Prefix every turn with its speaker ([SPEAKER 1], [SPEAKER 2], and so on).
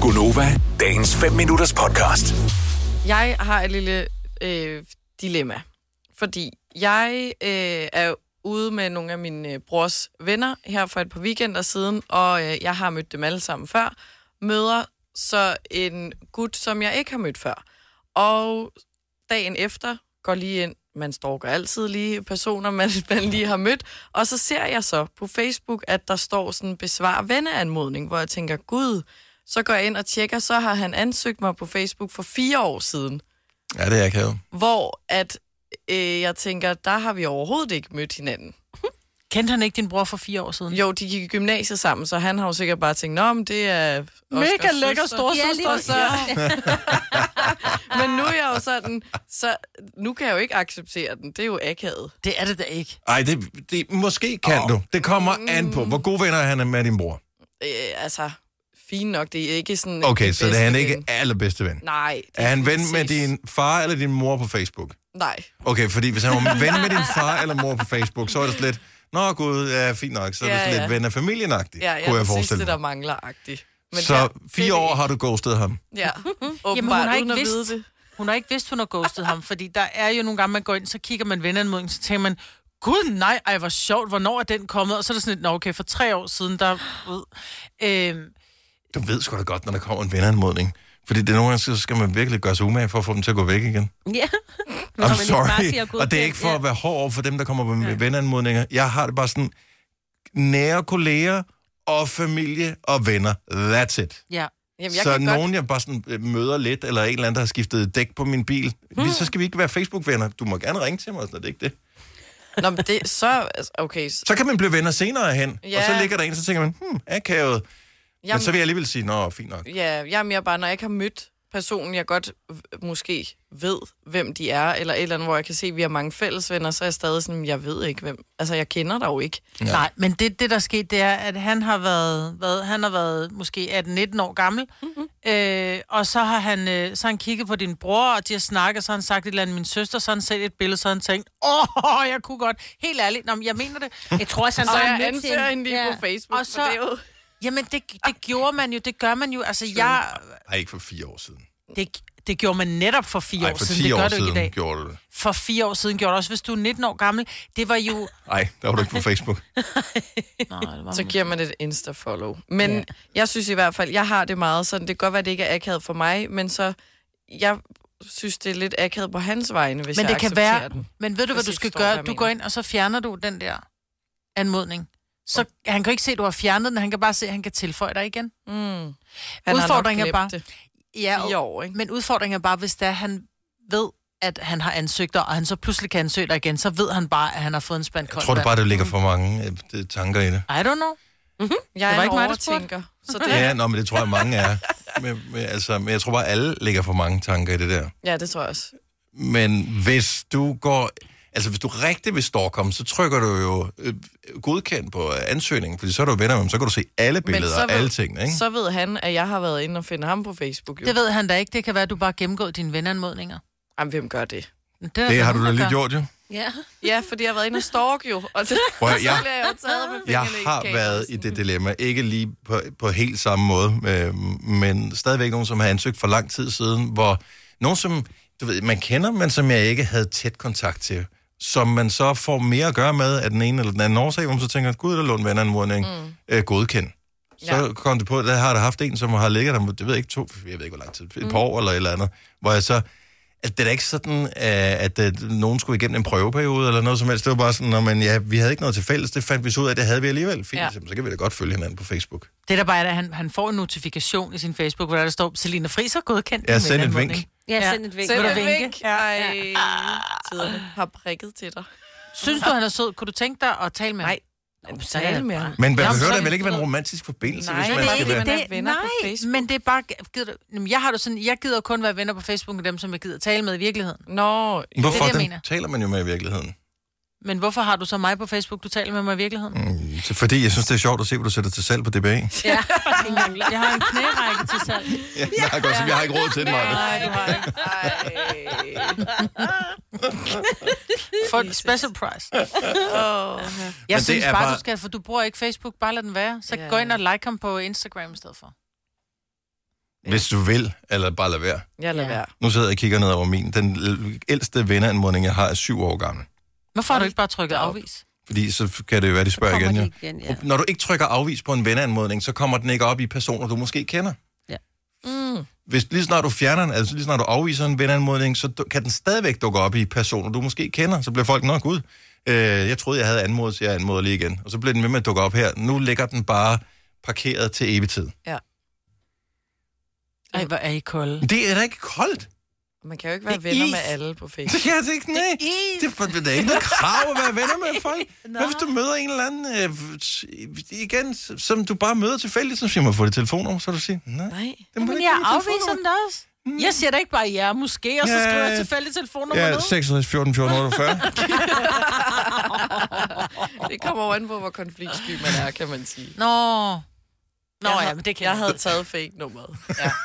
[SPEAKER 1] Gunova, dagens 5 minutters podcast.
[SPEAKER 2] Jeg har et lille øh, dilemma, fordi jeg øh, er ude med nogle af min øh, brors venner her for et par weekender siden, og øh, jeg har mødt dem alle sammen før, møder så en gut, som jeg ikke har mødt før. Og dagen efter går lige ind, man stalker altid lige personer, man, man lige har mødt, og så ser jeg så på Facebook, at der står sådan besvar venneanmodning, hvor jeg tænker, gud, så går jeg ind og tjekker, så har han ansøgt mig på Facebook for fire år siden,
[SPEAKER 3] Ja, det er akavet.
[SPEAKER 2] hvor at øh, jeg tænker, der har vi overhovedet ikke mødt hinanden.
[SPEAKER 4] Kendte han ikke din bror for fire år siden?
[SPEAKER 2] Jo, de gik i gymnasiet sammen, så han har jo sikkert bare tænkt, nå, men det er Oscars søster."
[SPEAKER 4] storsøster,
[SPEAKER 2] så... Men nu er jeg jo sådan, så nu kan jeg jo ikke acceptere den. Det er jo akavet.
[SPEAKER 4] Det er det da ikke.
[SPEAKER 3] Ej, det, det, måske kan oh. du. Det kommer
[SPEAKER 2] Mm.
[SPEAKER 3] an på, hvor gode venner er han er med din bror.
[SPEAKER 2] Øh, altså, fint nok, det er ikke sådan...
[SPEAKER 3] Okay,
[SPEAKER 2] min
[SPEAKER 3] så det er han
[SPEAKER 2] bedste
[SPEAKER 3] ikke
[SPEAKER 2] ven.
[SPEAKER 3] allerbedste ven.
[SPEAKER 2] Nej. det
[SPEAKER 3] Er han ven
[SPEAKER 2] præcis.
[SPEAKER 3] med din far eller din mor på Facebook?
[SPEAKER 2] Nej.
[SPEAKER 3] Okay, fordi hvis han var ven med din far eller mor på Facebook, så er det sådan lidt, Nå gud, ja, fint nok, så er
[SPEAKER 2] Ja,
[SPEAKER 3] det sådan
[SPEAKER 2] ja.
[SPEAKER 3] lidt ven af familien
[SPEAKER 2] Ja,
[SPEAKER 3] kunne
[SPEAKER 2] ja,
[SPEAKER 3] jeg
[SPEAKER 2] præcis
[SPEAKER 3] forestille
[SPEAKER 2] det, der
[SPEAKER 3] mig.
[SPEAKER 2] mangler agtigt. her,
[SPEAKER 3] Så
[SPEAKER 2] det
[SPEAKER 3] fire
[SPEAKER 2] er
[SPEAKER 3] år
[SPEAKER 2] det
[SPEAKER 3] har du ghostet ham.
[SPEAKER 2] ikke. Ja, åbenbart,
[SPEAKER 4] Jamen, hun har ikke
[SPEAKER 2] uden at
[SPEAKER 4] vidst.
[SPEAKER 2] vide det.
[SPEAKER 4] Hun har ikke vidst, hun har ghostet ham, fordi der er jo nogle gange, man går ind, så kigger man venneanmodningen, så tænker man, gud nej, ej, hvor sjovt, hvornår er den kommet? Og så er det sådan lidt, nå okay, for tre år siden, der... Ud. Øhm,
[SPEAKER 3] Du ved sgu da godt, når der kommer en venanmodning. Fordi det er nogle gange, så skal man virkelig gøre sig umage for at få dem til at gå væk igen.
[SPEAKER 5] Ja.
[SPEAKER 3] I'm sorry. Og det er ikke for at være hård over for dem, der kommer med ja. venanmodninger. Jeg har det bare sådan, nære kolleger og familie og venner. That's it.
[SPEAKER 4] ja.
[SPEAKER 2] Jamen, jeg
[SPEAKER 3] så
[SPEAKER 2] kan
[SPEAKER 3] nogen, jeg bare sådan øh, møder lidt, eller en eller anden, der har skiftet dæk på min bil, hmm. så skal vi ikke være Facebook-venner. Du må gerne ringe til mig, og sådan, noget, det er ikke det.
[SPEAKER 2] godt... Nå, men det, så... altså, Okay, så,
[SPEAKER 3] Så kan man blive venner senere hen, ja. og så
[SPEAKER 2] Ja.
[SPEAKER 3] ligger der en, så tænker man, hmm, akavet. Men
[SPEAKER 2] jamen,
[SPEAKER 3] så vil jeg alligevel sige, nå, fint nok.
[SPEAKER 2] Ja, jeg er mere bare, når jeg ikke har mødt personen, jeg godt v- måske ved, hvem de er, eller et eller andet, hvor jeg kan se, at vi har mange fælles venner, så er jeg stadig sådan, jeg ved ikke hvem. Altså, jeg kender dig jo ikke.
[SPEAKER 4] Ja. Nej, men det, det der skete, det er, at han har været, hvad, han har været måske 18-19 år gammel,
[SPEAKER 5] Mhm.
[SPEAKER 4] mm-hmm. øh, og så har han, øh, så har han kigget på din bror, og de har snakket, så har han sagt et eller andet, min søster, så har han set et billede, så har han tænkt, åh, jeg kunne godt, helt ærligt, nå, men jeg mener det.
[SPEAKER 5] Jeg tror også, han
[SPEAKER 2] Så
[SPEAKER 5] var
[SPEAKER 2] jeg
[SPEAKER 5] nødt til-
[SPEAKER 2] ansøger hende lige på Facebook,
[SPEAKER 4] Og
[SPEAKER 2] for
[SPEAKER 4] så-
[SPEAKER 2] det er jo-
[SPEAKER 4] Jamen, det, det gjorde man jo, det gør man jo, altså jeg,
[SPEAKER 3] Ej, ikke for fire år siden.
[SPEAKER 4] det, det gjorde man netop for fire
[SPEAKER 3] Nej,
[SPEAKER 4] år
[SPEAKER 3] for
[SPEAKER 4] siden,
[SPEAKER 3] ti
[SPEAKER 4] det gør
[SPEAKER 3] år
[SPEAKER 4] du ikke i
[SPEAKER 3] siden
[SPEAKER 4] dag.
[SPEAKER 3] gjorde du det.
[SPEAKER 4] For fire år siden gjorde du også, hvis du er 19 år gammel, det var jo...
[SPEAKER 3] Ej, der var du ikke på Facebook.
[SPEAKER 4] Nå, det var
[SPEAKER 2] Så giver man et insta-follow. Men yeah. jeg synes i hvert fald, jeg har det meget sådan, det kan godt være, det ikke er akavet for mig, men så, jeg synes, det er lidt akavet på hans vegne, hvis
[SPEAKER 4] men
[SPEAKER 2] jeg
[SPEAKER 4] det kan
[SPEAKER 2] accepterer
[SPEAKER 4] være,
[SPEAKER 2] den.
[SPEAKER 4] men ved du, hvad
[SPEAKER 2] Hvis
[SPEAKER 4] du
[SPEAKER 2] I
[SPEAKER 4] skal
[SPEAKER 2] forstår, hvad
[SPEAKER 4] gøre?
[SPEAKER 2] jeg
[SPEAKER 4] Du
[SPEAKER 2] mener.
[SPEAKER 4] går ind, og så fjerner du den der anmodning. Så han kan ikke se, at du har fjernet den, han kan bare se, at han kan tilføje dig igen.
[SPEAKER 2] Mm.
[SPEAKER 4] Udfordringen er
[SPEAKER 2] glemt
[SPEAKER 4] bare-
[SPEAKER 2] det.
[SPEAKER 4] Ja,
[SPEAKER 2] Fire år, ikke?
[SPEAKER 4] men udfordringen er bare, hvis det er, han ved, at han har ansøgt dig, og han så pludselig kan ansøge dig igen, så ved han bare, at han har fået en spand
[SPEAKER 3] Jeg
[SPEAKER 4] koldt
[SPEAKER 3] tror du
[SPEAKER 4] vand.
[SPEAKER 3] bare, der ligger for mange øh, det- tanker i det?
[SPEAKER 4] I don't know.
[SPEAKER 2] Jeg
[SPEAKER 4] Det var
[SPEAKER 2] er en
[SPEAKER 4] ikke mig, der spurgte.
[SPEAKER 2] overtænker, så det,
[SPEAKER 3] Ja, nå, men det tror jeg, mange er. Men, men, altså, men jeg tror bare, alle ligger for mange tanker i det der.
[SPEAKER 2] ja, det tror jeg også.
[SPEAKER 3] Men hvis du går... Altså, hvis du rigtig vil stalkom, så trykker du jo øh, godkendt på øh, ansøgningen, fordi så er du venner med dem, så kan du se alle billeder
[SPEAKER 2] så
[SPEAKER 3] og
[SPEAKER 2] ved-
[SPEAKER 3] alle tingene, ikke? Så...
[SPEAKER 2] Så ved han, at jeg har været inde og finde ham på Facebook. Jo.
[SPEAKER 4] Det ved han da ikke. Det kan være, at du bare gennemgår dine venneanmodninger.
[SPEAKER 2] Jamen, hvem gør det?
[SPEAKER 4] Men er der
[SPEAKER 3] Det har du
[SPEAKER 4] nogen,
[SPEAKER 3] da
[SPEAKER 4] der
[SPEAKER 3] lige
[SPEAKER 4] gør.
[SPEAKER 3] gjort, jo.
[SPEAKER 5] Ja.
[SPEAKER 2] Ja, fordi jeg har været inde og stalk jo. Og det,
[SPEAKER 3] Prøv at- jeg-
[SPEAKER 2] så bliver jeg jo taget med fingrene
[SPEAKER 3] Jeg
[SPEAKER 2] i
[SPEAKER 3] har
[SPEAKER 2] kakao.
[SPEAKER 3] været i det dilemma, ikke lige på, på helt samme måde, øh, men stadigvæk nogen, som har ansøgt for lang tid siden, hvor nogen, som du ved, man kender, men som jeg ikke havde tæt kontakt til, som man så får mere at gøre med af den ene eller den anden årsag, hvor man så tænker, gud, der lå en vandanmodning, mm. øh, godkendt. Så
[SPEAKER 2] Ja.
[SPEAKER 3] ja. kom det på, at der har der haft en, som har ligget der, det ved jeg ikke, to, jeg ved ikke, hvor lang tid,
[SPEAKER 2] Mm.
[SPEAKER 3] et par år eller et eller andet, hvor jeg så, at det er da ikke sådan, øh, at øh, nogen skulle igennem en prøveperiode eller noget som helst. Det var bare sådan, at ja, vi havde ikke noget til fælles. Det fandt vi så ud af, det havde vi alligevel. Fint,
[SPEAKER 2] Ja.
[SPEAKER 3] ja. så kan vi da godt følge hinanden på Facebook.
[SPEAKER 4] Det der bare er, at han, han får en notifikation i sin Facebook, hvor der står, Selina Friis har godkendt
[SPEAKER 3] Ja,
[SPEAKER 4] din
[SPEAKER 3] send et
[SPEAKER 4] venneanmodning."
[SPEAKER 3] vink.
[SPEAKER 5] Ja, send et vink.
[SPEAKER 2] Send
[SPEAKER 4] Vil
[SPEAKER 2] et
[SPEAKER 4] du vinke?
[SPEAKER 2] vink. Ej, tiderne har prikket til dig.
[SPEAKER 4] Synes du, han er sød? Kunne du tænke dig at tale med ham?
[SPEAKER 2] Nej,
[SPEAKER 4] så er det
[SPEAKER 2] med ham.
[SPEAKER 3] Men man
[SPEAKER 4] Jamen,
[SPEAKER 3] behøver
[SPEAKER 4] så-
[SPEAKER 3] da vel ikke være en romantisk forbindelse,
[SPEAKER 2] Nej,
[SPEAKER 3] hvis
[SPEAKER 2] det
[SPEAKER 3] man
[SPEAKER 2] er
[SPEAKER 3] skal
[SPEAKER 2] ikke
[SPEAKER 3] være...
[SPEAKER 2] det. er venner på Facebook.
[SPEAKER 4] men det er bare... Gider du, Jamen, jeg har det sådan, jeg gider kun være venner på Facebook med dem, som jeg gider tale med i virkeligheden.
[SPEAKER 2] Nå,
[SPEAKER 3] Hvorfor
[SPEAKER 4] jeg
[SPEAKER 3] det,
[SPEAKER 4] mener.
[SPEAKER 3] dem taler man jo med i virkeligheden?
[SPEAKER 4] Men hvorfor har du så mig på Facebook, du taler med mig i virkeligheden? Mm.
[SPEAKER 3] Mm, så Fordi jeg synes, det er sjovt at se, hvor du sætter til salg på DBA. Ja,
[SPEAKER 5] Ja.
[SPEAKER 4] Jeg har en knærække til salg.
[SPEAKER 3] jeg, har godt, jeg har ikke råd til det, Maja.
[SPEAKER 4] Nej, du har ikke. For special price. Jeg
[SPEAKER 3] det
[SPEAKER 4] synes
[SPEAKER 3] er
[SPEAKER 4] bare, bare,
[SPEAKER 3] bare-
[SPEAKER 4] du skal, for du bruger ikke Facebook, bare lad den være. Så
[SPEAKER 2] Ja.
[SPEAKER 4] gå ind og like ham på Instagram i stedet for.
[SPEAKER 3] Hvis du vil, eller bare lad være.
[SPEAKER 2] Jeg lader
[SPEAKER 4] Ja.
[SPEAKER 2] være.
[SPEAKER 3] Nu sidder jeg og kigger ned over min. Den l- ældste venneanmodning, jeg har, er syv år gammel.
[SPEAKER 4] Hvorfor har du ikke bare trykket afvis?
[SPEAKER 3] Fordi så kan det jo være, de spørger igen.
[SPEAKER 5] kommer
[SPEAKER 3] jo.
[SPEAKER 5] de igen, ja.
[SPEAKER 3] Når du ikke trykker afvis på en venneanmodning, så kommer den ikke op i personer, du måske kender.
[SPEAKER 2] Mm.
[SPEAKER 3] Hvis lige snart du fjerner den, altså lige snart du afviser en venneanmodning, så du- kan den stadigvæk dukke op i personer, du måske kender. Så bliver folk nok ud. Øh, jeg troede, jeg havde anmodet, så jeg anmoder lige igen. Og så bliver den ved med at dukke op her. Nu ligger den bare parkeret til evig tid.
[SPEAKER 4] Ej, hvor er I kolde.
[SPEAKER 3] Det er da ikke koldt.
[SPEAKER 2] Man kan jo ikke
[SPEAKER 4] Det
[SPEAKER 2] være
[SPEAKER 4] er
[SPEAKER 2] venner
[SPEAKER 4] is.
[SPEAKER 2] med alle på Facebook.
[SPEAKER 3] Det er det ikke, nej. Det er, for- det er ikke noget krav at være venner med folk. Hvad hvis du møder en eller anden, øh, s- igen, s- som du bare møder tilfældigt, så siger man, får det telefonnummer, så vil du siger, nej. det må
[SPEAKER 2] Nej.
[SPEAKER 3] du
[SPEAKER 4] Men
[SPEAKER 3] ikke
[SPEAKER 4] jeg
[SPEAKER 3] give mit
[SPEAKER 4] afviser den da også. Jeg siger da ikke bare ja, måske, og så
[SPEAKER 3] Ja,
[SPEAKER 4] skriver
[SPEAKER 3] Mm. ja.
[SPEAKER 4] jeg tilfældigt telefonnummer
[SPEAKER 3] telefonnummer. Ja,
[SPEAKER 4] ned.
[SPEAKER 3] 66 14 14 48.
[SPEAKER 2] Det kommer jo an på, hvor konfliktsky man er, kan man sige.
[SPEAKER 4] Nå. Nå
[SPEAKER 2] jeg,
[SPEAKER 4] ja,
[SPEAKER 2] har-
[SPEAKER 4] men det kan
[SPEAKER 2] jeg havde taget fake nummeret.